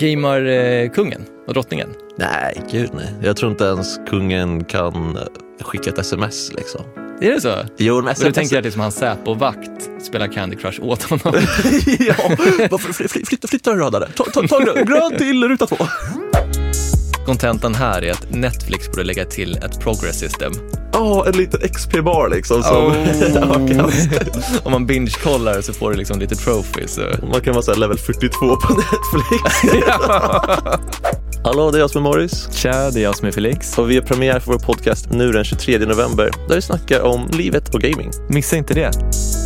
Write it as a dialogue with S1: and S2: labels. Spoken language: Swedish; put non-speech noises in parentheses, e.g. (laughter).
S1: gamer-kungen eh, och drottningen.
S2: Nej, gud nej. Jag tror inte ens kungen kan eh, skicka ett sms liksom.
S1: Är det så?
S2: Jo, men
S1: Så du
S2: sms...
S1: tänker att liksom hans Säpo-vakt spelar Candy Crush åt honom?
S2: (laughs)
S3: (laughs)
S2: ja, varför, fly, fly, flytta, flytta den röda där. Ta, ta, ta grön, grön till ruta två.
S1: Kontentan här är att Netflix borde lägga till ett progress system.
S2: Ja, en liten XP-bar liksom. Som (laughs)
S1: Oh.
S2: man, kan,
S1: Om man binge-kollar så får du liksom lite trophies. Så.
S2: man kan vara så här level 42
S1: (laughs)
S2: på Netflix. (laughs) Hallå, det är jag som är Morris.
S3: Tja, det är jag som är Felix.
S2: Och vi har premiär för vår podcast nu den 23 november där vi snackar om livet och gaming.
S3: Missa inte det.